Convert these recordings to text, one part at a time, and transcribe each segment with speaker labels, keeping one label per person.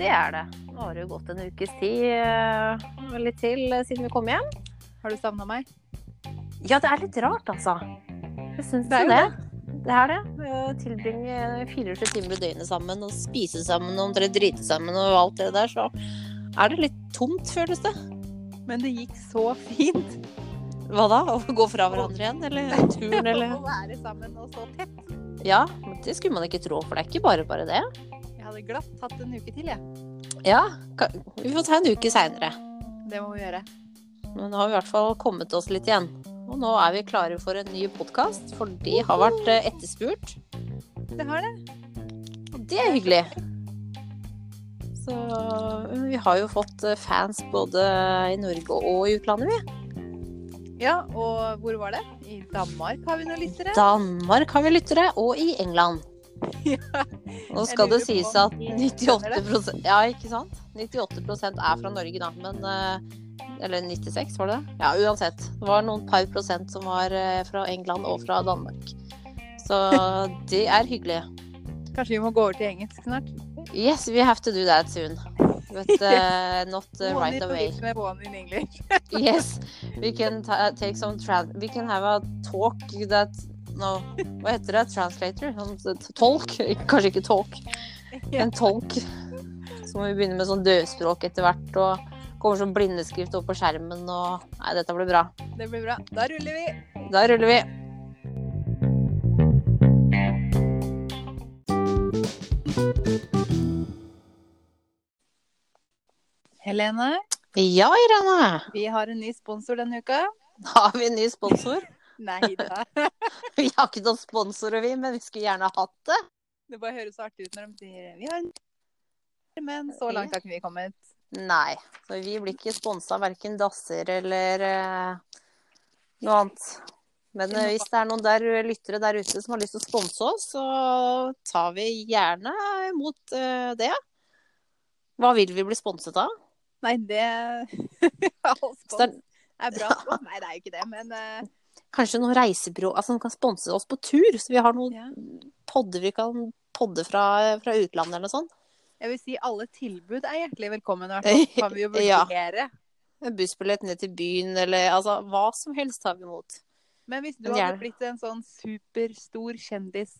Speaker 1: Det er det. Nå har det jo gått en ukes tid eh, eller til eh, siden vi kom hjem.
Speaker 2: Har du savna meg?
Speaker 1: Ja, det er litt rart, altså. Jeg syns
Speaker 2: Det er
Speaker 1: jo
Speaker 2: jo
Speaker 1: det. Det er det. Å Tilbringe 24 timer i døgnet sammen og spise sammen og omtrent drite sammen og alt det der, så er det litt tomt, føles det.
Speaker 2: Men det gikk så fint.
Speaker 1: Hva da? Å gå fra hverandre igjen, eller turen, eller
Speaker 2: Å være sammen og så tett.
Speaker 1: Ja, men det skulle man ikke tro, for det er ikke bare bare det.
Speaker 2: Jeg hadde glatt hatt en uke til, jeg.
Speaker 1: Ja, ka- vi får ta en uke seinere.
Speaker 2: Det må vi gjøre.
Speaker 1: Men nå har vi i hvert fall kommet oss litt igjen. Og nå er vi klare for en ny podkast, for de har vært eh, etterspurt.
Speaker 2: Det har det.
Speaker 1: Og det er hyggelig. Så eh, vi har jo fått eh, fans både i Norge og i utlandet, vi.
Speaker 2: Ja, og hvor var det? I Danmark har vi noen lyttere.
Speaker 1: Danmark har vi lyttere, og i England.
Speaker 2: Ja.
Speaker 1: Nå skal det
Speaker 2: lurer på
Speaker 1: sies
Speaker 2: om
Speaker 1: at
Speaker 2: de
Speaker 1: 98 Ja, ikke sant? 98 er fra Norge, da. Men eh, Eller 96, var det det? Ja, uansett. Det var noen par prosent som var eh, fra England og fra Danmark. Så det er hyggelig.
Speaker 2: Kanskje vi må gå over til engelsk snart?
Speaker 1: Yes, we have to do that soon. But eh, not eh,
Speaker 2: One
Speaker 1: right
Speaker 2: in
Speaker 1: away.
Speaker 2: Norwegian and one in English.
Speaker 1: Yes, we can ta take some tran... We can have a talk that No, hva heter det? Translator? Sånn Tolk? Kanskje ikke talk.
Speaker 2: Ja.
Speaker 1: En tolk. Så må vi begynne med sånn dødspråk etter hvert, og kommer sånn blindeskrift opp på skjermen og Nei, dette blir bra.
Speaker 2: Det blir bra. Da ruller vi.
Speaker 1: Da ruller vi.
Speaker 2: Helene,
Speaker 1: Ja, Irene!
Speaker 2: vi har en ny sponsor denne uka.
Speaker 1: Har vi en ny sponsor?
Speaker 2: Nei da.
Speaker 1: Vi har ikke noen sponsorer, vi, men vi skulle gjerne hatt det.
Speaker 2: Det bare høres så artig ut når de sier vi har en Men så langt har ikke vi kommet.
Speaker 1: Nei. Så vi blir ikke sponsa av verken dasser eller eh, noe annet. Men eh, hvis det er noen der, lyttere der ute som har lyst til å sponse oss, så tar vi gjerne imot eh, det. Hva vil vi bli sponset av?
Speaker 2: Nei, det All
Speaker 1: Hvis det
Speaker 2: spons
Speaker 1: er
Speaker 2: er bra. spons. Nei, det er jo ikke det, men eh,
Speaker 1: kanskje noen reisebyrå altså, som kan sponse oss på tur? Så vi har noen
Speaker 2: ja.
Speaker 1: podder vi kan podde fra, fra utlandet eller noe sånt.
Speaker 2: jeg vil si alle tilbud er hjertelig velkommen. i hvert fall. Kan vi jo
Speaker 1: Ja.
Speaker 2: vurdere.
Speaker 1: En Bussbillett ned til byen eller altså hva som helst tar vi imot.
Speaker 2: Men hvis du
Speaker 1: Men
Speaker 2: hadde
Speaker 1: gjerne.
Speaker 2: blitt en sånn superstor kjendis,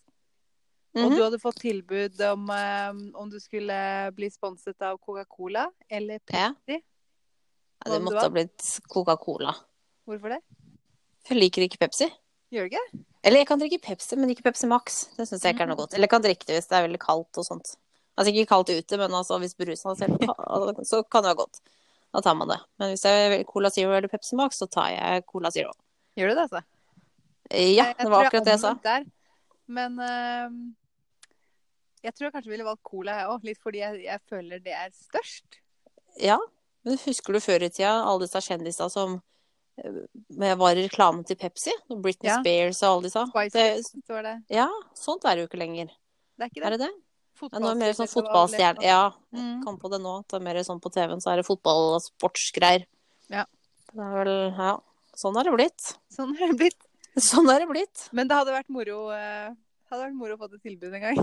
Speaker 2: og
Speaker 1: Mhm.
Speaker 2: du hadde fått tilbud om, eh, om du skulle bli sponset av Coca-Cola eller
Speaker 1: Ja.
Speaker 2: Pepsi,
Speaker 1: Nei, Det
Speaker 2: Hva om det
Speaker 1: måtte ha blitt Coca-Cola.
Speaker 2: hvorfor det?
Speaker 1: Jeg liker ikke Pepsi.
Speaker 2: Gjør du ikke?
Speaker 1: Eller jeg kan drikke Pepsi, men ikke Pepsi Max. Det syns jeg ikke er
Speaker 2: Mm.
Speaker 1: noe godt. Eller jeg kan drikke det hvis det er veldig kaldt og sånt. Altså ikke kaldt ute, men altså hvis brusen er selv, altså, så kan det være godt. Da tar man det. Men hvis jeg velger Cola Zero eller Pepsi Max, så tar jeg Cola Zero. Eh,
Speaker 2: Gjør du det, altså?
Speaker 1: Ja,
Speaker 2: Jeg- jeg
Speaker 1: det
Speaker 2: tror
Speaker 1: var
Speaker 2: jeg
Speaker 1: akkurat det jeg sa.
Speaker 2: omvendt Der. Men øhm, jeg tror jeg kanskje ville valgt cola, jeg òg. Litt fordi jeg, jeg føler det er størst.
Speaker 1: Ja. Men husker du før i tida alle disse kjendisa som eh, var i reklamen til Pepsi? Og Britney
Speaker 2: Ja.
Speaker 1: Spears og alle disse.
Speaker 2: Spice
Speaker 1: Det,
Speaker 2: Girls, så var det.
Speaker 1: ja, sånt er det jo ikke lenger.
Speaker 2: det er ikke
Speaker 1: Er
Speaker 2: det.
Speaker 1: det det? Ja, nå er det
Speaker 2: Fotballspiller
Speaker 1: mer
Speaker 2: var
Speaker 1: sånn
Speaker 2: vel et-
Speaker 1: fotballstjerne... Ja,
Speaker 2: Mm.
Speaker 1: kom på det nå. Det er mer sånn på TV-en, så er det fotball og sportsgreier.
Speaker 2: Ja.
Speaker 1: Det er vel Ja. Sånn er det blitt.
Speaker 2: Sånn har det blitt.
Speaker 1: Sånn er det blitt.
Speaker 2: Men det hadde vært moro, øh, hadde vært moro å få det tilbudet en gang.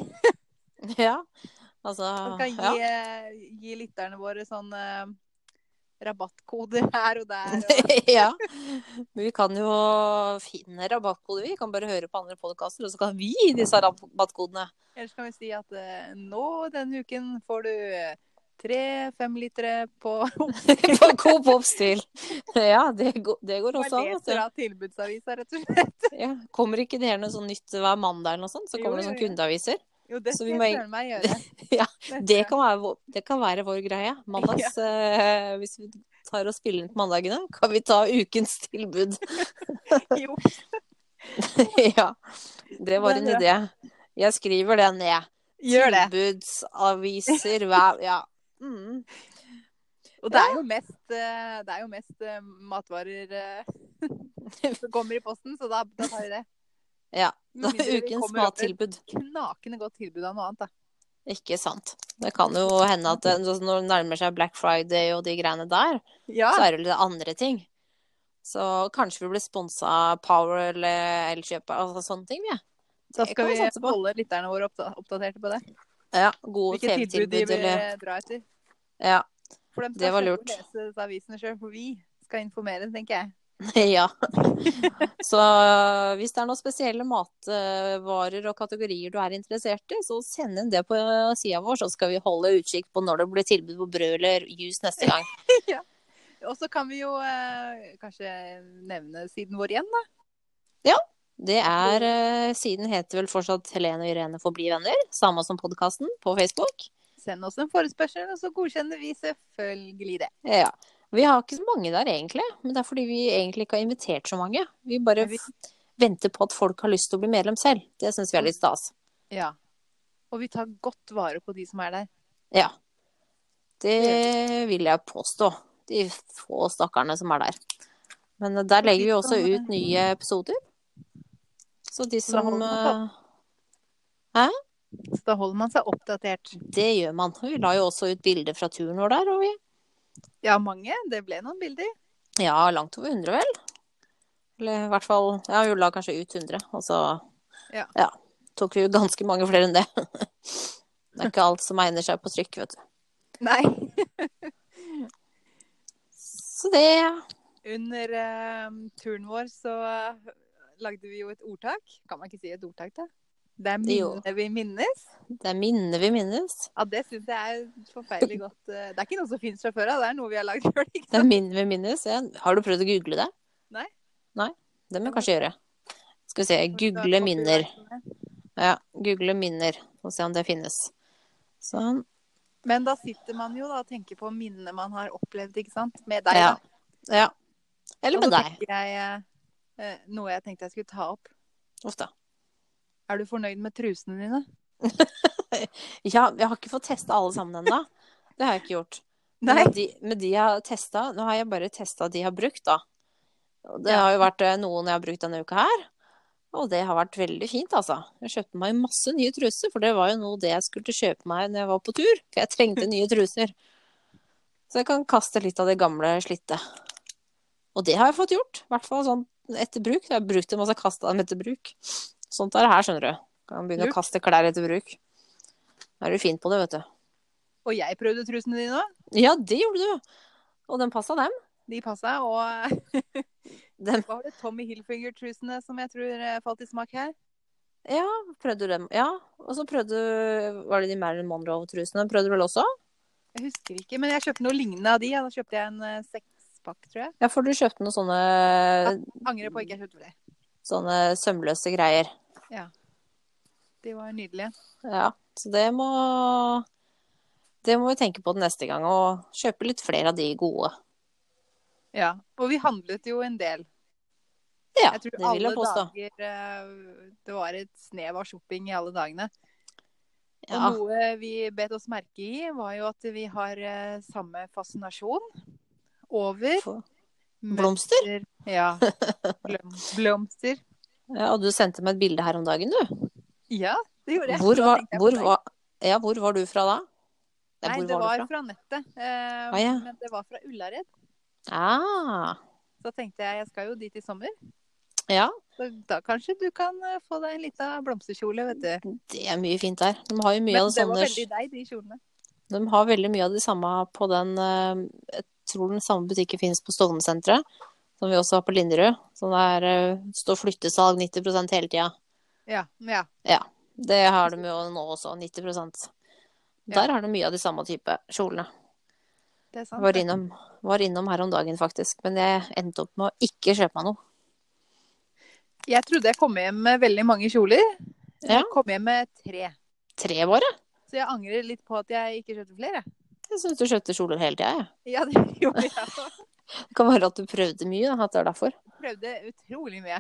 Speaker 1: Ja. Altså
Speaker 2: Man kan
Speaker 1: ja.
Speaker 2: gi, øh, gi lytterne våre sånn øh, rabattkoder her og der. Og...
Speaker 1: ja. Men vi kan jo finne rabattkoder, vi. Kan bare høre på andre podkaster, og så kan vi gi disse rabattkodene.
Speaker 2: Ellers kan vi si at øh, nå denne uken får du eh, tre femlitere på
Speaker 1: På god popstil. Ja, det, går- det går også
Speaker 2: Jeg
Speaker 1: an.
Speaker 2: leser
Speaker 1: vet
Speaker 2: av tilbudsavisa, rett og slett.
Speaker 1: du. Ja. Kommer ikke det gjerne sånn nytt hver mandag eller noe sånt? Så
Speaker 2: Jo,
Speaker 1: kommer det
Speaker 2: jo,
Speaker 1: sånn
Speaker 2: jo.
Speaker 1: kundeaviser.
Speaker 2: Jo, det
Speaker 1: Så
Speaker 2: skal
Speaker 1: vi
Speaker 2: jeg
Speaker 1: må eng-
Speaker 2: prøve meg å gjøre.
Speaker 1: Ja,
Speaker 2: Neste
Speaker 1: Det
Speaker 2: gang.
Speaker 1: kan være vår, det kan være vår greie. Mandags, eh, hvis vi tar og spiller inn på mandagene, kan vi ta ukens tilbud.
Speaker 2: Jo,
Speaker 1: ja, det var
Speaker 2: Det er
Speaker 1: en idé. Jeg skriver det ned.
Speaker 2: gjør det.
Speaker 1: Tilbudsaviser hver Ja. Mm.
Speaker 2: Og det er jo mest, eh, det er jo mest eh, matvarer eh, som kommer i posten, så da, da tar vi det.
Speaker 1: Ja,
Speaker 2: Med
Speaker 1: Da
Speaker 2: mindre vi
Speaker 1: ukens
Speaker 2: kommer over et
Speaker 1: mattilbud.
Speaker 2: Knakende godt tilbud av noe annet, da.
Speaker 1: Ikke sant. Det kan jo hende at det- når det nærmer seg Black Friday og de greiene der,
Speaker 2: Ja,
Speaker 1: så er det litt andre ting. Så kanskje vi blir sponsa av Power eller Elkjøp altså sånne ting, vi.
Speaker 2: da
Speaker 1: det
Speaker 2: skal
Speaker 1: kan
Speaker 2: vi
Speaker 1: vi satse på.
Speaker 2: holde lytterne våre oppda- oppdaterte på det.
Speaker 1: Ja, gode
Speaker 2: Hvilke tilbud de
Speaker 1: TV-tilbud
Speaker 2: vil
Speaker 1: eller
Speaker 2: eh, dra etter.
Speaker 1: Ja.
Speaker 2: For de skal
Speaker 1: Det var
Speaker 2: slippe å
Speaker 1: lurt.
Speaker 2: lese disse avisene sjøl, for vi skal informere, tenker jeg.
Speaker 1: ja. Så hvis det er noen spesielle matvarer og kategorier du er interessert i, så send inn det på sida vår, så skal vi holde utkikk på når det blir tilbud på brød eller juice neste gang.
Speaker 2: Og så kan vi jo eh, kanskje nevne siden vår igjen, da.
Speaker 1: Det er eh, Siden heter vel fortsatt Helene og Irene får bli venner, samme som podkasten, på Facebook.
Speaker 2: Send oss en forespørsel, og så godkjenner vi selvfølgelig det.
Speaker 1: Ja. Vi har ikke så mange der egentlig, men det er fordi vi egentlig ikke har invitert så mange. Vi bare
Speaker 2: Men vi-
Speaker 1: f- venter på at folk har lyst til å bli medlem selv. Det syns vi er litt stas.
Speaker 2: Ja. Og vi tar godt vare på de som er der.
Speaker 1: Ja. Det vil jeg påstå. De få stakkarene som er der. Men der legger vi også ut nye episoder. Så de
Speaker 2: Så da
Speaker 1: som
Speaker 2: holder man
Speaker 1: eh,
Speaker 2: Så da holder man seg oppdatert.
Speaker 1: Det gjør man. Vi la jo også ut bilder fra turen vår der. Og vi,
Speaker 2: Ja, mange. Det ble noen bilder.
Speaker 1: ja, langt over 100, vel? Eller i hvert fall Ja, vi la kanskje ut 100, og så
Speaker 2: Ja.
Speaker 1: tok vi jo ganske mange flere enn det. Det er ikke alt som egner seg på trykk, vet du.
Speaker 2: Nei.
Speaker 1: Så det
Speaker 2: Under eh, turen vår så eh, lagde vi jo et ordtak. Kan man ikke si et ordtak, da? Det er
Speaker 1: Jo.
Speaker 2: minnet vi minnes.
Speaker 1: Det er minner vi minnes.
Speaker 2: Ja, det syns jeg er forferdelig godt. eh, Det er ikke noe som finnes fra før av, det er noe vi har lagd før. ikke
Speaker 1: Det
Speaker 2: sant?
Speaker 1: er min ved minnes. Ja. Har du prøvd å google det?
Speaker 2: Nei.
Speaker 1: Nei? Det må jeg kanskje gjøre. Skal vi se. Google minner. Ja, google minner. Og se om det finnes. Sånn.
Speaker 2: Men da sitter man jo da og tenker på minnene man har opplevd, ikke sant. Med deg.
Speaker 1: Ja.
Speaker 2: da.
Speaker 1: Ja. Eller
Speaker 2: Og
Speaker 1: med
Speaker 2: så
Speaker 1: deg.
Speaker 2: tenker jeg eh, eh, noe jeg tenkte jeg skulle ta opp.
Speaker 1: Uff da.
Speaker 2: Er du fornøyd med trusene dine?
Speaker 1: Ja, jeg har ikke fått testa alle sammen ennå. Det har jeg ikke gjort. Men
Speaker 2: Nei.
Speaker 1: Med de, med de jeg har testa Nå har jeg bare testa de jeg har brukt, da. Og Det
Speaker 2: Ja.
Speaker 1: har jo vært eh, noen jeg har brukt denne uka her. Og det har vært veldig fint, altså. Jeg kjøpte meg masse nye truser, for det var jo noe det jeg skulle kjøpe meg når jeg var på tur. For jeg trengte nye truser. Så jeg kan kaste litt av det gamle slitte. Og det har jeg fått gjort. I hvert fall sånn etter bruk. Jeg har brukt dem, og så kasta dem etter bruk. Sånt er det her, skjønner du. Kan begynne
Speaker 2: Lurt.
Speaker 1: å kaste klær etter bruk. Da er du fin på det, vet du.
Speaker 2: Og jeg prøvde trusene dine òg.
Speaker 1: Ja, det gjorde du. Og den passa dem.
Speaker 2: De passa. Og
Speaker 1: Den,
Speaker 2: hva var det Tommy Hilfiger-trusene som jeg tror eh, falt i smak her?
Speaker 1: ja, prøvde du dem. Ja, og så prøvde du Var det de Marilyn Monroe-trusene? Prøvde du vel også?
Speaker 2: Jeg husker ikke, men jeg kjøpte noe lignende av de. ja. Da kjøpte jeg en eh, sekspakk, tror jeg.
Speaker 1: Ja, for du kjøpte noen sånne,
Speaker 2: Angrer på ikke jeg kjøpte det.
Speaker 1: sånne sømløse greier.
Speaker 2: De var nydelige.
Speaker 1: Ja, så det må Det må vi tenke på til neste gang, og kjøpe litt flere av de gode.
Speaker 2: Ja. Og vi handlet jo en del.
Speaker 1: Ja,
Speaker 2: Jeg
Speaker 1: det
Speaker 2: tror
Speaker 1: vil
Speaker 2: alle
Speaker 1: jeg påstå.
Speaker 2: dager eh, Det var et snev av shopping i alle dagene. Og
Speaker 1: Ja,
Speaker 2: noe vi bet oss merke i, var jo at vi har eh, samme fascinasjon over
Speaker 1: for-
Speaker 2: mønster.
Speaker 1: blomster?
Speaker 2: Ja. Blom, blomster.
Speaker 1: Ja, og du sendte meg et bilde her om dagen, du.
Speaker 2: Ja, det gjorde jeg.
Speaker 1: Hvor
Speaker 2: Da
Speaker 1: var,
Speaker 2: tenkte jeg på
Speaker 1: hvor
Speaker 2: deg.
Speaker 1: var, ja, hvor var du fra da? Nei,
Speaker 2: Nei,
Speaker 1: hvor
Speaker 2: det
Speaker 1: var,
Speaker 2: var
Speaker 1: du fra?
Speaker 2: fra nettet. eh,
Speaker 1: Ah, ja.
Speaker 2: Men det var fra Ullared.
Speaker 1: Ah,
Speaker 2: Så tenkte jeg jeg skal jo dit i sommer.
Speaker 1: ja,
Speaker 2: Så da kanskje du kan eh, få deg en liten blomsterkjole, vet du.
Speaker 1: det er mye fint der. De har jo mye
Speaker 2: Men
Speaker 1: av det
Speaker 2: det var
Speaker 1: sånne
Speaker 2: veldig deg, de kjolene.
Speaker 1: De har veldig mye av de samme på den eh, Jeg tror den samme butikken finnes på Stovner-senteret, som vi også har på Linderud. Så det er, eh, står flyttesalg 90 hele tida.
Speaker 2: Ja, ja.
Speaker 1: Det har de jo nå også, 90 Der har de mye av de samme type kjolene.
Speaker 2: Det er sant.
Speaker 1: Jeg var
Speaker 2: det.
Speaker 1: innom, var innom her om dagen, faktisk. Men jeg endte opp med å ikke kjøpe meg noe.
Speaker 2: Jeg trodde jeg kom hjem med veldig mange kjoler.
Speaker 1: Ja.
Speaker 2: Jeg kom hjem med tre.
Speaker 1: Tre, bare.
Speaker 2: Så jeg angrer litt på at jeg ikke kjøpte flere. jeg.
Speaker 1: Jeg syns du kjøpte kjoler hele tida, jeg.
Speaker 2: Ja, det gjorde jeg også.
Speaker 1: Det kan være at du prøvde mye, da, at det er derfor.
Speaker 2: Prøvde utrolig mye.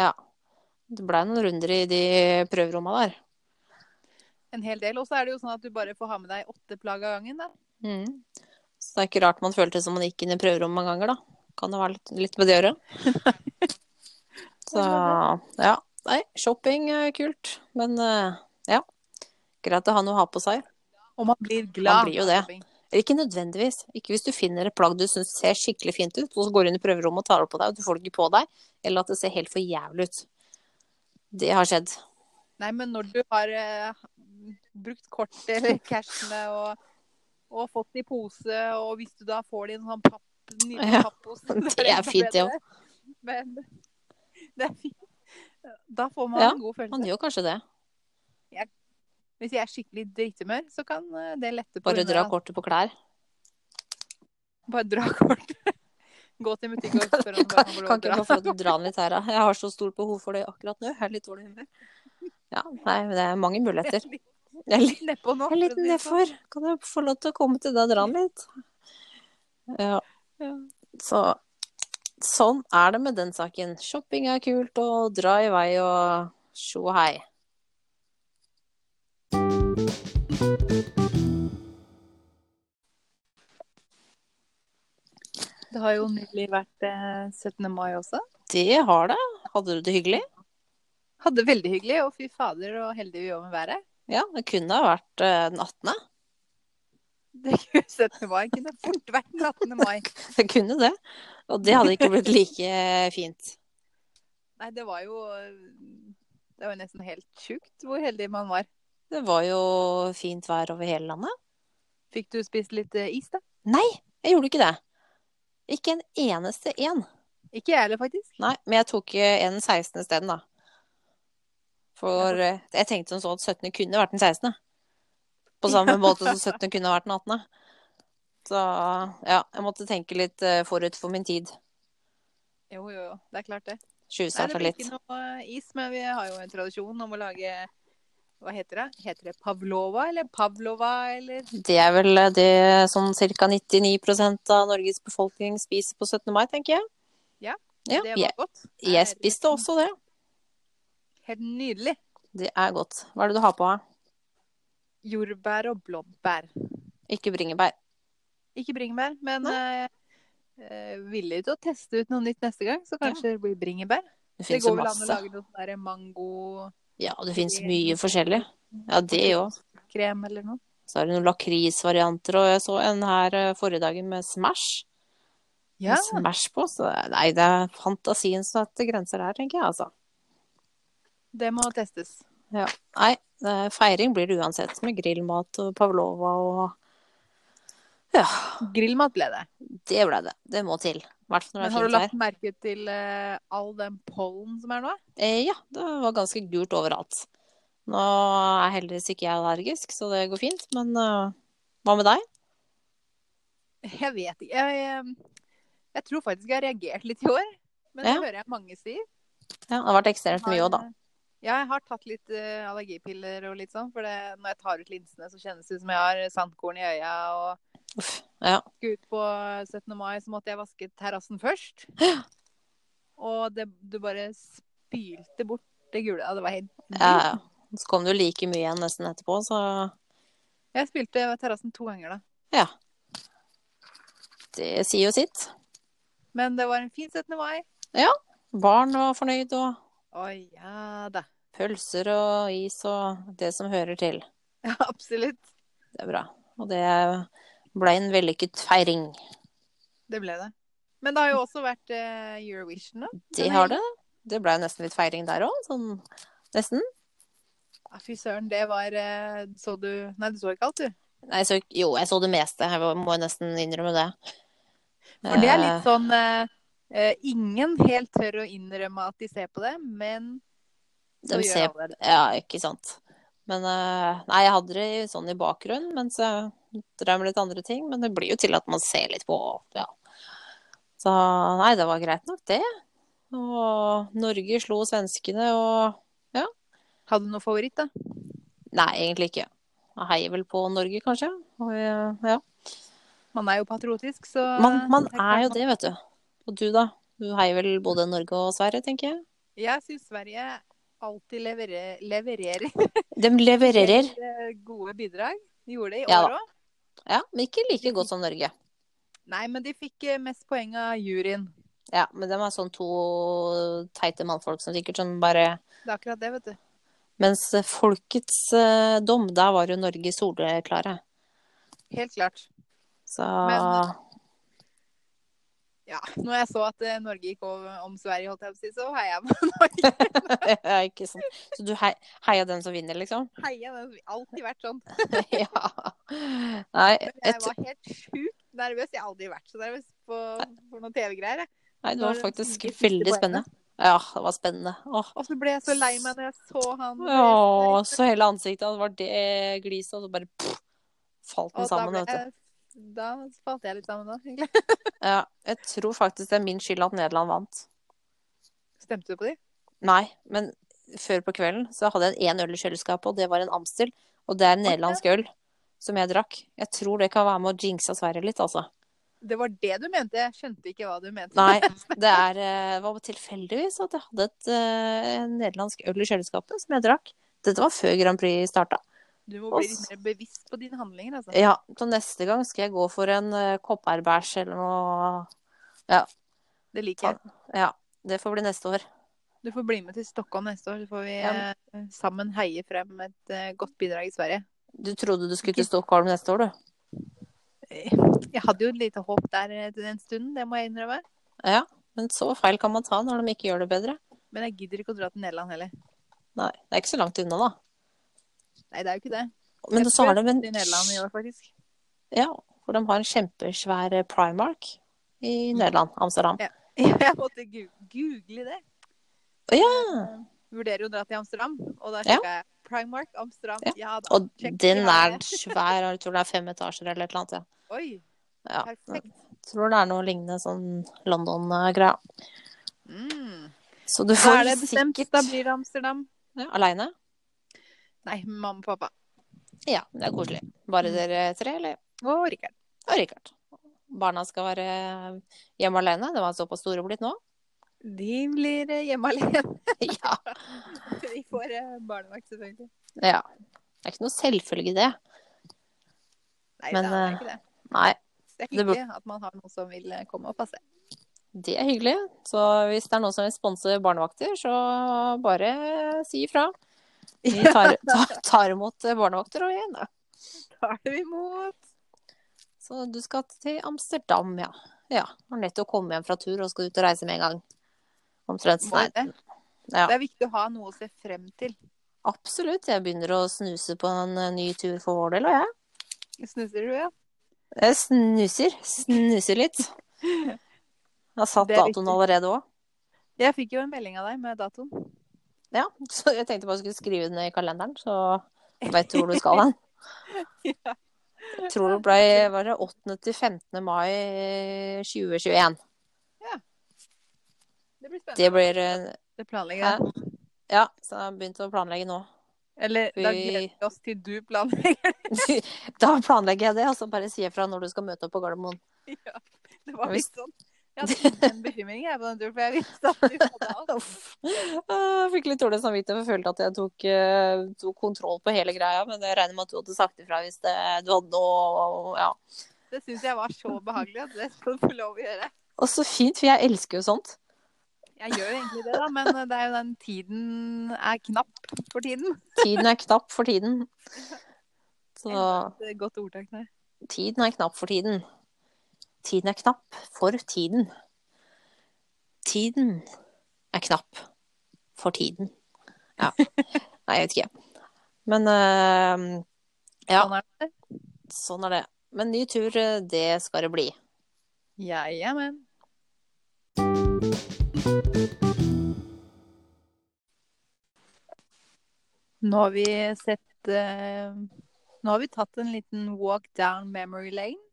Speaker 1: Ja. Det blei noen runder i de prøveromma der.
Speaker 2: En hel del. Og så er det jo sånn at du bare får ha med deg åtte plagg av gangen. Da.
Speaker 1: Mm. Så det er ikke rart man følte det som man gikk inn i prøverommet mange ganger, da. Kan det være litt, litt med det å gjøre. Så ja. Nei, shopping er kult. Men eh, ja. Greit å ha noe å ha på seg.
Speaker 2: Og man blir glad.
Speaker 1: blir jo det. Eller ikke nødvendigvis. Ikke hvis du finner et plagg du syns ser skikkelig fint ut, og så går du inn i prøverommet og tar det på deg, og du får det ikke på deg. Eller at det ser helt for jævlig ut. Det har skjedd.
Speaker 2: Nei, men når du har eh, brukt kort eller cashene og, og fått det i pose, og hvis du da får det i en sånn papp, nydelig
Speaker 1: Ja,
Speaker 2: papppose
Speaker 1: det er fint, det
Speaker 2: bedre. Men det er fint. Da får man
Speaker 1: Ja,
Speaker 2: en god følelse.
Speaker 1: Man gjør kanskje det.
Speaker 2: Hvis jeg er skikkelig drithumør, så kan eh, det lette på
Speaker 1: Bare
Speaker 2: humøret.
Speaker 1: dra kortet på klær.
Speaker 2: Bare dra kort. Gå til butikken og spørre om
Speaker 1: Kan,
Speaker 2: man får lov
Speaker 1: kan ikke
Speaker 2: til å
Speaker 1: gå for at du drar den litt her, da. Jeg har så stort behov for det akkurat nå. Jeg er litt dårlig i humør. Ja, nei, det er mange muligheter. Jeg er litt-
Speaker 2: dra. Nedpå nå.
Speaker 1: Jeg er litt
Speaker 2: for å si det sånn.
Speaker 1: nedfor. Kan jeg få lov til å komme til deg og dra den litt? Ja.
Speaker 2: Ja.
Speaker 1: Så sånn er det med den saken. Shopping er kult, og dra i vei og tjo og hei.
Speaker 2: Det har jo nylig vært eh, 17. mai også.
Speaker 1: Det har det. Hadde du det hyggelig?
Speaker 2: Hadde veldig hyggelig, og fy fader og heldige vi var med været.
Speaker 1: Ja, det kunne ha vært eh, den 18.
Speaker 2: Det kunne 17. mai kunne fort vært den 18. mai.
Speaker 1: Det kunne det. Og det hadde ikke blitt like fint.
Speaker 2: Nei, det var jo eh, Det var jo nesten helt sjukt hvor heldig man var.
Speaker 1: Det var jo fint vær over hele landet.
Speaker 2: Fikk du spist litt eh, is, da?
Speaker 1: Jeg gjorde ikke det. Ikke en eneste en.
Speaker 2: Ikke jeg heller, faktisk.
Speaker 1: Nei, men jeg tok eh, en 16. isteden, da. For eh, jeg tenkte som så at 17. kunne vært den 16. På samme måte som 17. kunne vært den 18. Så ja, jeg måtte tenke litt eh, forut for min tid.
Speaker 2: Jo, jo, jo. Det er klart, det.
Speaker 1: Skjuse
Speaker 2: Nei,
Speaker 1: seg
Speaker 2: det
Speaker 1: for
Speaker 2: blir
Speaker 1: litt.
Speaker 2: ikke noe is, men vi har jo en tradisjon om å lage Hva heter det? Heter det pavlova, eller pavlova, eller
Speaker 1: Det er vel eh, det som ca. 99 av Norges befolkning spiser på 17. mai, tenker jeg.
Speaker 2: Ja, Det
Speaker 1: Ja,
Speaker 2: var
Speaker 1: jeg,
Speaker 2: godt. Nei,
Speaker 1: jeg spiste
Speaker 2: herregud.
Speaker 1: også det.
Speaker 2: Helt nydelig.
Speaker 1: Det er godt. Hva er det du har på? her?
Speaker 2: Jordbær og blåbær.
Speaker 1: Ikke bringebær.
Speaker 2: Ikke bringebær, men eh, eh, villig til å teste ut noe nytt neste gang. Så kanskje det blir bringebær.
Speaker 1: Det
Speaker 2: Det
Speaker 1: fins jo
Speaker 2: går vel an å
Speaker 1: masse.
Speaker 2: lage noe sånn der mangokrem
Speaker 1: Ja, det fins mye forskjellig. Ja, det òg.
Speaker 2: eller noe.
Speaker 1: Så er det noen lakrisvarianter, og jeg så en her eh, forrige dagen med Smash.
Speaker 2: Ja,
Speaker 1: Med Smash på, så nei, det er fantasien som setter grenser her, tenker jeg, altså.
Speaker 2: det må testes.
Speaker 1: Nei, eh, feiring blir det uansett, med grillmat og pavlova og Ja,
Speaker 2: Grillmat ble det.
Speaker 1: det ble det. Det må til. I hvert fall når
Speaker 2: Men
Speaker 1: det er
Speaker 2: har du
Speaker 1: fint vær.
Speaker 2: lagt merke til eh, all den pollen som er nå?
Speaker 1: Eh, ja, det var ganske gult overalt. Nå er heldigvis ikke jeg allergisk, så det går fint, men eh, hva med deg?
Speaker 2: Jeg vet ikke. Jeg, jeg, jeg tror faktisk jeg har reagert litt i år. Men det
Speaker 1: Ja.
Speaker 2: hører jeg mange sier.
Speaker 1: Ja, det har vært ekstremt mye òg, da.
Speaker 2: Ja, jeg har tatt litt eh, allergipiller og litt sånn. For det, når jeg tar ut linsene, så kjennes det ut som jeg har sandkorn i øya. Og
Speaker 1: Uff, ja.
Speaker 2: skulle ut på 17. mai, så måtte jeg vaske terrassen først. Og det, du bare spylte bort det gule. Ja, det var helt
Speaker 1: ja, ja. Så kom det jo like mye igjen nesten etterpå, så
Speaker 2: Jeg spilte terrassen to ganger, da.
Speaker 1: det sier jo eh, sitt.
Speaker 2: Men det var en fin 17. mai.
Speaker 1: Barn var fornøyd, og
Speaker 2: Å ja da.
Speaker 1: pølser og is og det som hører til.
Speaker 2: Ja, absolutt.
Speaker 1: Det er bra. Og det ble en vellykket feiring.
Speaker 2: Det ble det. Men det har
Speaker 1: Mm.
Speaker 2: jo også vært eh, Eurovision, da.
Speaker 1: Det har det. Det ble nesten litt feiring der òg, sånn nesten.
Speaker 2: Ja, fy søren, det var eh, Så du Nei, du så ikke alt, du.
Speaker 1: Nei, så, jo, jeg så det meste. Jeg må nesten innrømme det.
Speaker 2: For det er
Speaker 1: Eh,
Speaker 2: litt sånn eh, eh, Ingen helt tør å innrømme at de ser på det, men nå
Speaker 1: De
Speaker 2: sånn gjør
Speaker 1: ser
Speaker 2: alle det.
Speaker 1: Ja, ikke sant. Men eh, Nei, jeg hadde det sånn i bakgrunnen mens jeg drev med litt andre ting. Men det blir jo til at man ser litt på, ja. Så nei, det var greit nok, det. Og Norge slo svenskene og
Speaker 2: Hadde du noe favoritt, da?
Speaker 1: Nei, egentlig ikke. Jeg heier vel på Norge, kanskje. Og, eh, ja.
Speaker 2: Man er jo patriotisk, så
Speaker 1: man, man er jo det, vet du. Og du, da? Du heier vel både Norge og Sverige, tenker jeg.
Speaker 2: Jeg syns Sverige alltid leverer, levererer
Speaker 1: De levererer.
Speaker 2: eh, gode bidrag. De Gjorde det i
Speaker 1: Ja
Speaker 2: år òg.
Speaker 1: Ja, men ikke like godt som Norge.
Speaker 2: Nei, men de fikk eh, mest poeng av juryen.
Speaker 1: Ja, men de er sånn to teite mannfolk som sikkert sånn bare
Speaker 2: Det er akkurat det, vet du.
Speaker 1: Mens folkets eh, dom, der var jo Norge soleklare.
Speaker 2: Helt klart.
Speaker 1: Så
Speaker 2: Men- Ja, når jeg så at eh, Norge gikk over om Sverige, holdt jeg på å si, så heia jeg på Norge.
Speaker 1: ja, ikke sånn. Så du hei, heia den som vinner, liksom?
Speaker 2: Heia, det har alltid vært sånn.
Speaker 1: ja. Nei,
Speaker 2: Jeg
Speaker 1: et,
Speaker 2: var helt sjukt nervøs. Jeg har aldri vært så nervøs på, for noen TV-greier. jeg.
Speaker 1: nei, det var
Speaker 2: når-
Speaker 1: faktisk
Speaker 2: de siste
Speaker 1: veldig
Speaker 2: poengene.
Speaker 1: spennende. Ja, det var spennende. Åh.
Speaker 2: Og så ble jeg så lei meg når jeg så han.
Speaker 1: Åh, så hele ansiktet hans var det gliset, og så bare pff, falt
Speaker 2: Og
Speaker 1: den
Speaker 2: da,
Speaker 1: sammen,
Speaker 2: ble
Speaker 1: vet du.
Speaker 2: jeg, da falt jeg litt sammen da, egentlig.
Speaker 1: Ja, jeg tror faktisk det er min skyld at Nederland vant.
Speaker 2: Stemte du på de?
Speaker 1: Nei, men før på kvelden så hadde jeg en øl i kjøleskapet, og det var en Amstel. Og det er en nederlandsk øl som jeg drakk. Jeg tror det kan være med å jinxe Sverige litt, altså.
Speaker 2: Det var det du mente. Jeg skjønte ikke hva du mente.
Speaker 1: Nei, det er, eh, var tilfeldigvis at jeg hadde et eh, nederlandsk øl i kjøleskapet som jeg drakk. Dette var før Grand Prix starta.
Speaker 2: Du må bli litt mer bevisst på dine handlinger, altså.
Speaker 1: Ja, så neste gang skal jeg gå for en eh, kopperbæsj eller noe.
Speaker 2: Det liker jeg.
Speaker 1: Ja, det får bli neste år.
Speaker 2: Du får bli med til Stockholm neste år, så får vi
Speaker 1: Ja,
Speaker 2: eh, sammen heie frem et eh, godt bidrag i Sverige.
Speaker 1: Du trodde du skulle til Stockholm neste år, du?
Speaker 2: Jeg hadde jo et lite håp der eh, til den stunden, det må jeg innrømme.
Speaker 1: Ja, men så feil kan man ta når de ikke gjør det bedre.
Speaker 2: Men jeg gidder ikke å dra til Nederland heller.
Speaker 1: Nei, det er ikke så langt unna, da.
Speaker 2: Nei, det er jo ikke det.
Speaker 1: Men
Speaker 2: Jeg
Speaker 1: så har
Speaker 2: tror
Speaker 1: de en
Speaker 2: Til Nederland i år, faktisk.
Speaker 1: Ja, for de har en kjempesvær eh, Primark i
Speaker 2: Mm.
Speaker 1: Nederland, Amsterdam.
Speaker 2: Jeg måtte gu- google det.
Speaker 1: Å ja!
Speaker 2: Vurderer jo å dra til Amsterdam, og da
Speaker 1: Ja.
Speaker 2: sjekka jeg Primark Amsterdam.
Speaker 1: Ja.
Speaker 2: Ja, da.
Speaker 1: Og den er svær, jeg tror det er fem etasjer eller et eller annet.
Speaker 2: Oi,
Speaker 1: Ja. ja.
Speaker 2: perfekt.
Speaker 1: Tror det er noe lignende sånn London-greia.
Speaker 2: Mm.
Speaker 1: Så
Speaker 2: Da
Speaker 1: du
Speaker 2: er
Speaker 1: får
Speaker 2: det bestemt.
Speaker 1: sikkert
Speaker 2: Da blir det Amsterdam.
Speaker 1: ja, aleine.
Speaker 2: Nei, mamma og pappa.
Speaker 1: Ja, det er koselig.
Speaker 2: Mm.
Speaker 1: Bare dere tre, eller?
Speaker 2: Og Rikard.
Speaker 1: Og Rikard. Barna skal være hjemme alene. De er såpass store blitt nå.
Speaker 2: De blir eh, hjemme alene.
Speaker 1: Ja.
Speaker 2: De får eh, barnevakt, selvfølgelig.
Speaker 1: ja. Det er ikke noe selvfølge, det.
Speaker 2: Nei,
Speaker 1: Men,
Speaker 2: da, det er ikke det.
Speaker 1: Nei.
Speaker 2: Det er
Speaker 1: det burde-
Speaker 2: hyggelig at man har noen som vil eh, komme og passe.
Speaker 1: Det er hyggelig. Så hvis det er noen som vil sponse barnevakter, så bare si ifra. Vi tar, tar, tar imot eh, barnevakter og igjen, da.
Speaker 2: Tar dem imot.
Speaker 1: Så du skal til Amsterdam, ja. Ja. Har nettopp kommet hjem fra tur og skal ut og reise med en gang. Omtrent.
Speaker 2: Må
Speaker 1: Nei,
Speaker 2: det.
Speaker 1: ja.
Speaker 2: Det er viktig å ha noe å se frem til.
Speaker 1: absolutt. Jeg begynner å snuse på en eh, ny tur for vår del, og jeg.
Speaker 2: Snuser du, ja?
Speaker 1: Jeg snuser. Snuser litt. Jeg har satt
Speaker 2: Det er
Speaker 1: datoen
Speaker 2: viktig.
Speaker 1: allerede òg.
Speaker 2: Jeg fikk jo en melding av deg med datoen.
Speaker 1: Ja, så jeg tenkte bare jeg skulle skrive den i kalenderen, så veit du hvor du skal hen.
Speaker 2: Ja.
Speaker 1: Jeg tror det ble var det 8. til 15. mai eh, 2021.
Speaker 2: Det blir spennende.
Speaker 1: Det blir eh,
Speaker 2: Det planlegger jeg.
Speaker 1: Ja, så jeg har begynt å planlegge nå.
Speaker 2: Eller da gleder vi oss til du planlegger.
Speaker 1: Da planlegger jeg det, og så bare sier jeg fra når du skal møte opp på Gardermoen.
Speaker 2: Ja, det var
Speaker 1: Hvis-
Speaker 2: litt sånn. Jeg hadde ingen bekymring jeg på den turen, for jeg visste at du hadde alt.
Speaker 1: Uff. Jeg fikk litt dårlig samvittighet, for jeg følte at jeg tok, eh, tok kontroll på hele greia. Men jeg regner med at du hadde sagt ifra hvis det, du hadde noe ja.
Speaker 2: Det syns jeg var så behagelig at det skal du få lov å gjøre.
Speaker 1: Og så fint, for jeg elsker jo sånt.
Speaker 2: Jeg gjør jo egentlig det, da, men eh, det er jo den tiden er knapp for tiden.
Speaker 1: Tiden er knapp for tiden. Så
Speaker 2: Det er et Godt ordtak der.
Speaker 1: Tiden er knapp for tiden. Tiden er knapp for tiden. Tiden er knapp for tiden. Ja. Nei, jeg vet ikke. Men eh, Ja.
Speaker 2: Sånn er det.
Speaker 1: sånn er det. Men ny tur, eh, det skal det bli.
Speaker 2: Jeg er med. Nå har vi sett eh, Nå har vi tatt en liten walk down memory lane.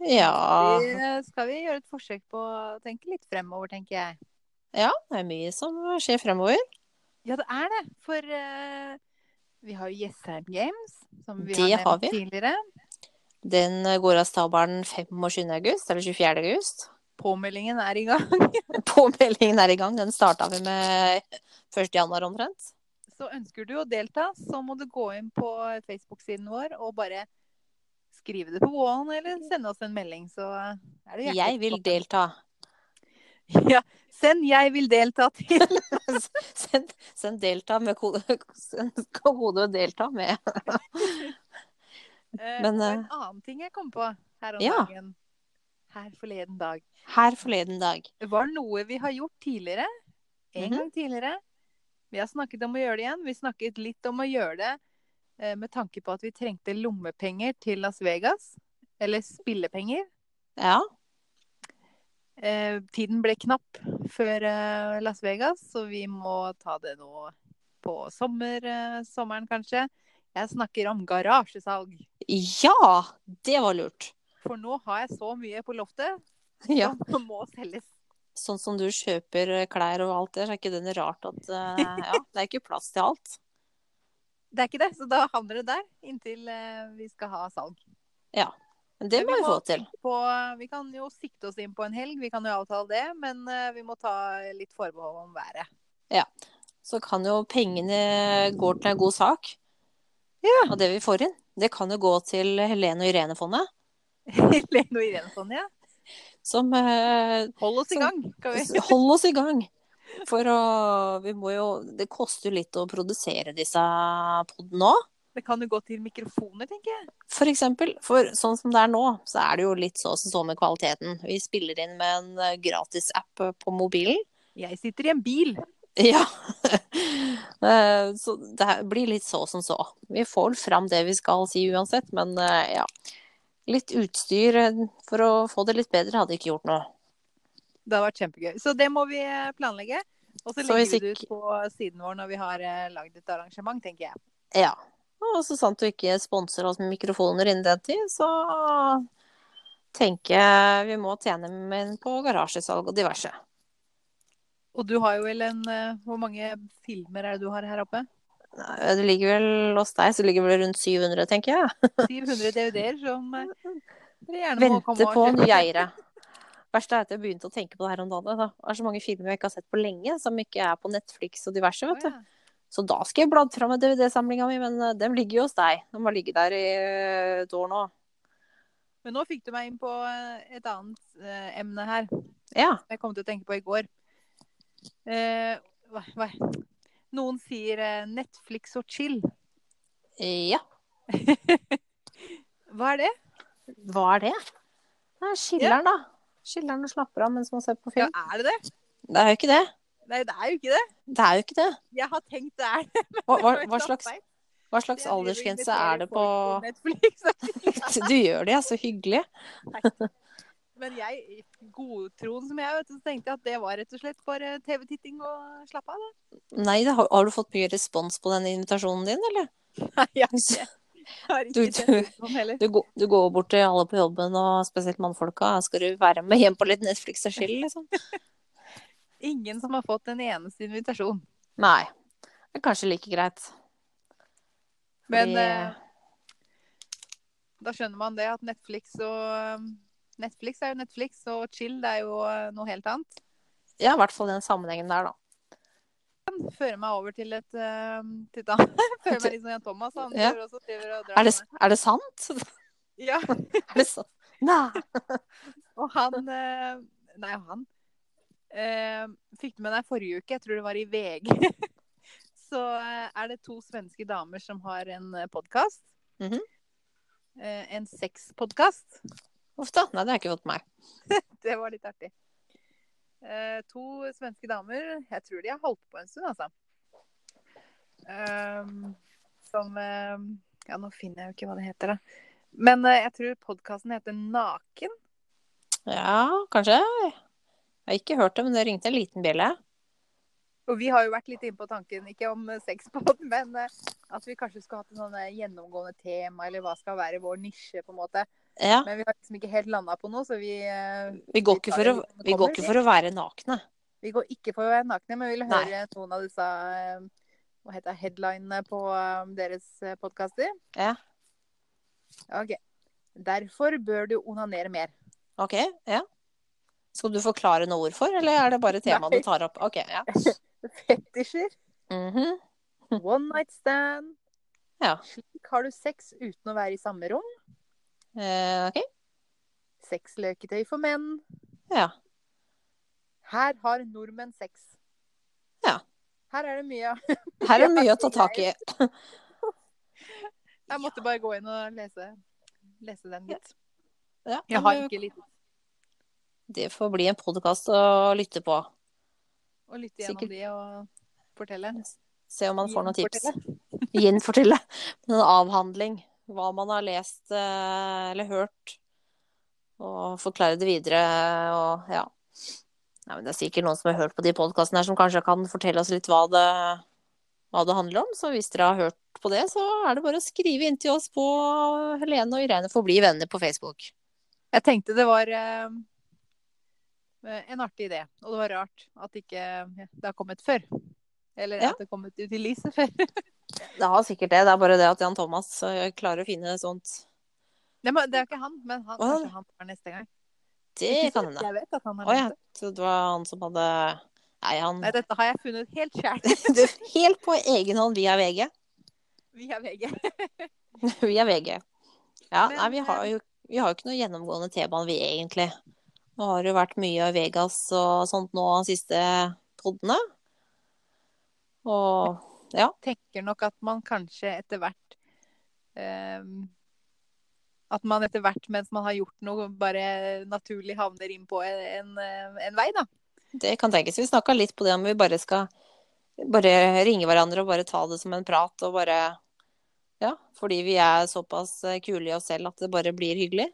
Speaker 1: Ja.
Speaker 2: Det skal vi gjøre et forsøk på å tenke litt fremover, tenker jeg.
Speaker 1: ja. Det er mye som skjer fremover.
Speaker 2: Ja, det er det. For eh, vi har jo Jessheim Games, som vi
Speaker 1: Det
Speaker 2: har nevnt
Speaker 1: har vi.
Speaker 2: tidligere.
Speaker 1: Den eh, går av stabelen 25. august, eller 24. august.
Speaker 2: Påmeldingen er i gang.
Speaker 1: Påmeldingen er i gang. Den starta vi med 1. januar omtrent.
Speaker 2: Så ønsker du å delta, så må du gå inn på Facebook-siden vår og bare skrive det på våren eller sende oss en melding, så er det hjertelig
Speaker 1: Jeg vil delta.
Speaker 2: velkommen. Ja, send 'jeg vil delta' til
Speaker 1: Send, send delta med kode, send kode og delta med.
Speaker 2: Eh,
Speaker 1: Men,
Speaker 2: og
Speaker 1: eh,
Speaker 2: en annen ting jeg kom på her om
Speaker 1: ja.
Speaker 2: dagen. Her forleden dag.
Speaker 1: Her forleden dag.
Speaker 2: Det var noe vi har gjort tidligere. En
Speaker 1: Mhm.
Speaker 2: gang tidligere. Vi har snakket om å gjøre det igjen. Vi snakket litt om å gjøre det eh, med tanke på at vi trengte lommepenger til Las Vegas. Eller spillepenger.
Speaker 1: Ja.
Speaker 2: Eh, tiden ble knapp før eh, Las Vegas, så vi må ta det nå på sommer, eh, sommeren kanskje. Jeg snakker om garasjesalg.
Speaker 1: Ja! Det var lurt.
Speaker 2: For nå har jeg så mye på loftet
Speaker 1: Ja.
Speaker 2: som må selges.
Speaker 1: Sånn som du kjøper klær og alt det, så er ikke det rart at eh, Ja, det er ikke plass til alt.
Speaker 2: Det er ikke det, så da havner det der inntil eh, vi skal ha salg.
Speaker 1: Men det
Speaker 2: Men
Speaker 1: må vi
Speaker 2: må
Speaker 1: få til.
Speaker 2: tenke På, vi kan jo sikte oss inn på en helg, vi kan jo avtale det. Men eh, vi må ta litt forbehold om været.
Speaker 1: Så kan jo pengene gå til en god sak. Ja. Og det vi får inn. Det kan jo gå til Helene og Irene-fondet,
Speaker 2: Lene og Irene sånn, ja.
Speaker 1: som eh,
Speaker 2: Hold oss i
Speaker 1: Så-
Speaker 2: gang, skal vi.
Speaker 1: Hold oss i gang. For å, vi må jo Det koster jo litt å produsere disse podene òg,
Speaker 2: Det kan jo gå til mikrofoner, tenker jeg.
Speaker 1: for eksempel. For sånn som det er nå, så er det jo litt så som så med kvaliteten. Vi spiller inn med en eh, gratis-app på mobilen.
Speaker 2: Jeg sitter i en bil.
Speaker 1: Ja. Eh, så det her blir litt så som så. Vi får vel fram det vi skal si uansett, men eh, ja. Litt utstyr eh, for å få det litt bedre hadde ikke gjort noe.
Speaker 2: Det har vært kjempegøy. Så det må vi eh, planlegge. Og så
Speaker 1: Så
Speaker 2: legger
Speaker 1: hvis
Speaker 2: vi det ut
Speaker 1: ikke-
Speaker 2: på siden vår når vi har eh, lagd et arrangement, tenker jeg.
Speaker 1: Ja. Og så sant du ikke sponser oss med mikrofoner innen den tid, så tenker jeg vi må tjene mer på garasjesalg og diverse.
Speaker 2: Og du har jo vel en eh, Hvor mange filmer er det du har her oppe?
Speaker 1: Det ligger vel hos deg, så ligger det vel rundt 700, tenker jeg.
Speaker 2: 700 DVD-er som eh, dere gjerne må komme
Speaker 1: Vente på
Speaker 2: og
Speaker 1: nye eiere. Verst er at jeg begynte å tenke på det her om dagen. Da. Det er så mange filmer jeg ikke har sett på lenge, som ikke er på Netflix og diverse,
Speaker 2: Å,
Speaker 1: vet
Speaker 2: ja.
Speaker 1: du. Så da skal jeg bladre fram med DVD-samlinga mi, men eh, den ligger jo hos deg. Den må ligge der i eh, et år nå.
Speaker 2: Men nå fikk du meg inn på eh, et annet eh, emne her.
Speaker 1: Ja.
Speaker 2: som Jeg kom til å tenke på i går. Eh, hva, hva? Noen sier eh, Netflix og chill.
Speaker 1: Ja.
Speaker 2: Hva er det?
Speaker 1: Hva er det? Det er Skiller'n, da. Skiller'n og slapper av mens man ser på
Speaker 2: Ja,
Speaker 1: film.
Speaker 2: er det det?
Speaker 1: Det er jo ikke det.
Speaker 2: Nei, det er jo ikke det.
Speaker 1: Det er jo ikke det.
Speaker 2: Jeg har tenkt det er det.
Speaker 1: Hva, hva,
Speaker 2: Jeg
Speaker 1: hva
Speaker 2: tar
Speaker 1: slags,
Speaker 2: feil.
Speaker 1: hva slags
Speaker 2: Jeg driver og
Speaker 1: aldersgrense
Speaker 2: inviterer
Speaker 1: er det på
Speaker 2: folk Netflix.
Speaker 1: Du gjør det, ja. Så hyggelig.
Speaker 2: Men jeg, godtroen som jeg, vet, du, så tenkte jeg at det var rett og slett bare TV-titting og slappe av. da.
Speaker 1: Nei, det har, har du fått mye respons på den invitasjonen din, eller?
Speaker 2: Nei, jeg har ikke
Speaker 1: Du,
Speaker 2: sett
Speaker 1: du,
Speaker 2: sånn heller.
Speaker 1: du, går, du går bort til alle på jobben, og spesielt mannfolka. Skal du være med hjem på litt Netflix og chill, liksom?
Speaker 2: Ingen som har fått en eneste invitasjon.
Speaker 1: Nei. Det er kanskje like greit.
Speaker 2: Men
Speaker 1: Fordi-
Speaker 2: eh, da skjønner man det at Netflix og eh, Netflix er jo Netflix, og chill det er jo eh, noe helt annet.
Speaker 1: Ja, i hvert fall den sammenhengen der, da.
Speaker 2: Fører meg over til et eh, til et annet. Fører meg litt sånn Jan Thomas. Han
Speaker 1: Ja.
Speaker 2: driver også driver og drar
Speaker 1: Er det,
Speaker 2: med.
Speaker 1: er det sant? Er
Speaker 2: Ja,
Speaker 1: det sant? Nei.
Speaker 2: og han eh, Nei, han eh, fikk du med deg forrige uke? Jeg tror det var i VG. Så eh, er det to svenske damer som har en podkast.
Speaker 1: Mhm.
Speaker 2: eh, en sexpodkast.
Speaker 1: Uff da. Nei, det har jeg ikke fått med meg.
Speaker 2: Det var litt artig. Eh, to svenske damer, jeg tror de har holdt på en stund, altså. Ehm, som eh, Ja, nå finner jeg jo ikke hva det heter, da. Men eh, jeg tror podkasten heter Naken.
Speaker 1: Ja, kanskje. Jeg har ikke hørt det, men det ringte en liten bjelle.
Speaker 2: Og vi har jo vært litt inne på tanken, ikke om eh, sex på den, men eh, at vi kanskje skulle hatt et sånn eh, gjennomgående tema, eller hva skal være vår nisje, på en måte.
Speaker 1: Ja,
Speaker 2: Men vi har liksom ikke helt landa på noe, så vi, eh,
Speaker 1: vi går ikke for å, vi går ikke for å være nakne.
Speaker 2: vi går ikke for å være nakne, men vi vil
Speaker 1: Nei.
Speaker 2: høre noen av disse eh, hva heter det, headlinene på eh, deres podkaster.
Speaker 1: Ja.
Speaker 2: Ok. Derfor bør du onanere mer.
Speaker 1: Ok, ja. Skal du forklare noe ord for, eller er det bare temaet
Speaker 2: Nei.
Speaker 1: du tar opp? Ok, ja.
Speaker 2: Fetisjer,
Speaker 1: Mhm.
Speaker 2: one night stand.
Speaker 1: Ja.
Speaker 2: Slik har du sex uten å være i samme rom.
Speaker 1: Eh, OK?
Speaker 2: Seks leketøy for menn.
Speaker 1: Ja.
Speaker 2: Her har nordmenn sex.
Speaker 1: Ja.
Speaker 2: Her er det mye. av.
Speaker 1: Her er mye å ta tak i.
Speaker 2: Jeg måtte bare gå inn og lese, lese den litt.
Speaker 1: Ja,
Speaker 2: Jeg har ikke litt
Speaker 1: Det får bli en podkast å lytte på.
Speaker 2: å lytte gjennom
Speaker 1: Sikkert.
Speaker 2: de og fortelle.
Speaker 1: Se om man får noen tips.
Speaker 2: Fortelle.
Speaker 1: Gjenfortelle. En avhandling. Hva man har lest eh, eller hørt. Og forklare det videre og ja. Nei, men det er sikkert noen som har hørt på de podkastene her, som kanskje kan fortelle oss litt hva det, hva det handler om. Så hvis dere har hørt på det, så er det bare å skrive inn til oss på Helene og Irene får bli venner på Facebook.
Speaker 2: Jeg tenkte det var eh, en artig idé. Og det var rart at ikke det har kommet før. Eller
Speaker 1: Ja.
Speaker 2: at det har kommet ut i lyset før.
Speaker 1: Det har sikkert det. Det er bare det at Jan Thomas eh, klarer å finne sånt.
Speaker 2: Det, må, det er ikke han, men han,
Speaker 1: Å, ja.
Speaker 2: kanskje han tar neste gang.
Speaker 1: Det kan hende.
Speaker 2: Jeg vet at han
Speaker 1: Å
Speaker 2: har
Speaker 1: ja.
Speaker 2: neste.
Speaker 1: Så det var han som hadde Nei, han
Speaker 2: Nei, dette har jeg funnet helt sjæl.
Speaker 1: Du, Helt på egen hånd via VG.
Speaker 2: Vi er VG.
Speaker 1: Via VG. Ja,
Speaker 2: Men, eh,
Speaker 1: nei, vi har jo vi har jo ikke noe gjennomgående tema, vi egentlig. Nå har det jo vært mye Vegas og sånt nå de siste podene. Og
Speaker 2: tenker nok at man kanskje etter hvert eh, At man etter hvert mens man har gjort noe, bare naturlig havner inn på en, en, eh, en vei, da.
Speaker 1: det kan tenkes. Vi snakka litt på det om vi bare skal bare ringe hverandre og bare ta det som en prat og bare Ja, fordi vi er såpass eh, kule i oss selv at det bare blir hyggelig.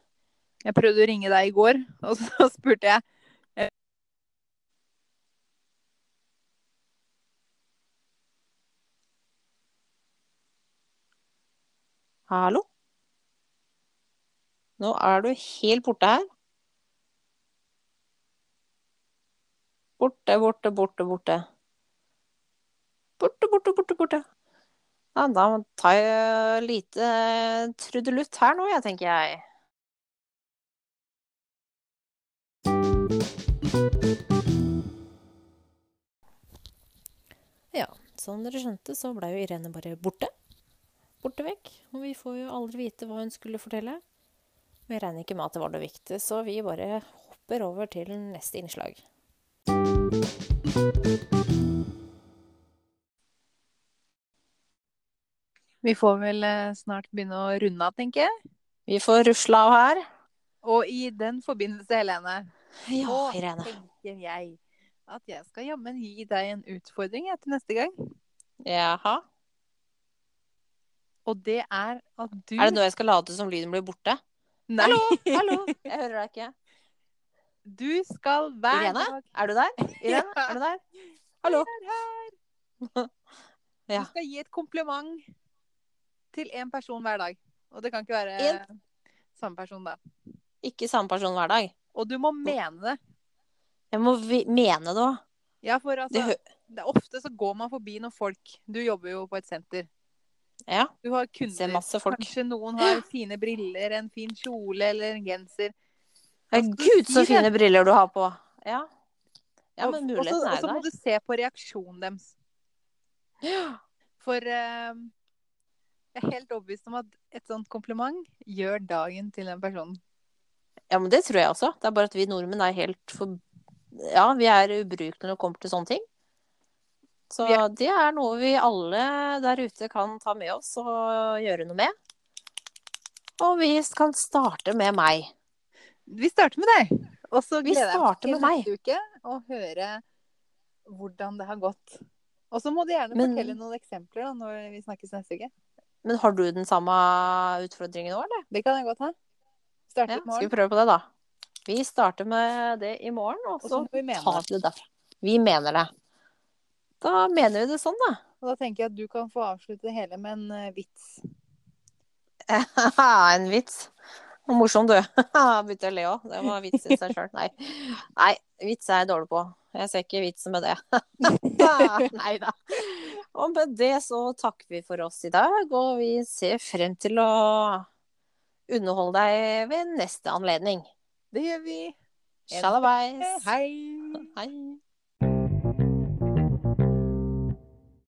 Speaker 2: Jeg prøvde å ringe deg i går, og så spurte jeg eh,
Speaker 1: Hallo? Nå er du helt borte her. Borte, borte, borte, borte. Borte, borte, borte, borte. Ja, da tar jeg lite eh, trudelutt her nå, jeg, tenker jeg. Ja, som dere skjønte, så blei jo Irene bare borte borte vekk. Og vi får jo aldri vite hva hun skulle fortelle. Vi regner ikke med at det var det viktige, så vi bare hopper over til neste innslag.
Speaker 2: Vi får vel eh, snart begynne å runde av, tenker jeg.
Speaker 1: Vi får rusle av her.
Speaker 2: Og i den forbindelse, Helene,
Speaker 1: Ja,
Speaker 2: Og
Speaker 1: Irene.
Speaker 2: tenker jeg at jeg skal jammen gi deg en utfordring jeg, til neste gang.
Speaker 1: Jaha.
Speaker 2: Og det er at du
Speaker 1: Er det nå jeg skal late som lyden blir borte?
Speaker 2: Nei,
Speaker 1: Hallo, jeg hører deg ikke.
Speaker 2: du skal hver
Speaker 1: Irene?
Speaker 2: dag
Speaker 1: Er du der? Irene, er du der? Hallo. Ja.
Speaker 2: Du skal gi et kompliment til én person hver dag. Og det kan ikke være samme person, da.
Speaker 1: Ikke samme person hver dag.
Speaker 2: Og du må mene det.
Speaker 1: Jeg må vi mene det òg.
Speaker 2: Ja, for altså,
Speaker 1: Det hø...
Speaker 2: det er ofte så går man forbi noen folk. Du jobber jo på et senter.
Speaker 1: Ja.
Speaker 2: Du har
Speaker 1: Ser
Speaker 2: kunder.
Speaker 1: masse folk.
Speaker 2: Kanskje noen har fine briller, en fin kjole eller en genser.
Speaker 1: Ja, Gud, så fine briller du har på. Ja. Ja,
Speaker 2: Og- og så-
Speaker 1: men muligheten
Speaker 2: Og
Speaker 1: er
Speaker 2: så må
Speaker 1: der.
Speaker 2: du se på reaksjonen deres.
Speaker 1: Ja.
Speaker 2: For eh, jeg er helt overbevist om at et sånt kompliment gjør dagen til den personen.
Speaker 1: Ja, men det tror jeg også. Det er bare at vi nordmenn er helt for... Ja, vi er ubrukelige når det kommer til sånne ting. Så
Speaker 2: Vi er-
Speaker 1: det er noe vi alle der ute kan ta med oss og gjøre noe med. Og vi kan starte med meg.
Speaker 2: Vi starter med deg. Og så
Speaker 1: Vi
Speaker 2: gleder jeg meg
Speaker 1: starter
Speaker 2: til
Speaker 1: med meg.
Speaker 2: neste uke å høre hvordan det har gått. Og så må du gjerne
Speaker 1: Men-
Speaker 2: fortelle noen eksempler da, når vi snakkes neste uke.
Speaker 1: Men har du den samme utfordringen nå, eller?
Speaker 2: Det kan jeg godt ha. Starte
Speaker 1: Ja,
Speaker 2: i
Speaker 1: skal vi
Speaker 2: morgen.
Speaker 1: prøve på det, da? Vi starter med det i morgen, og
Speaker 2: Og så
Speaker 1: så
Speaker 2: må vi mene
Speaker 1: tar vi det derfra. Vi mener det. Da mener vi det sånn, da.
Speaker 2: Og da tenker jeg at du kan få avslutte det hele med en eh, vits.
Speaker 1: en vits. Hvor morsom du er. Begynte å le òg. Det var vits i seg sjøl. Nei. Nei, vits er jeg dårlig på. Jeg ser ikke vitsen med det. Nei da. Og med det så takker vi for oss i dag, og vi ser frem til å underholde deg ved neste anledning.
Speaker 2: Det gjør vi.
Speaker 1: Sjalabais.
Speaker 2: Hei.
Speaker 1: Hei.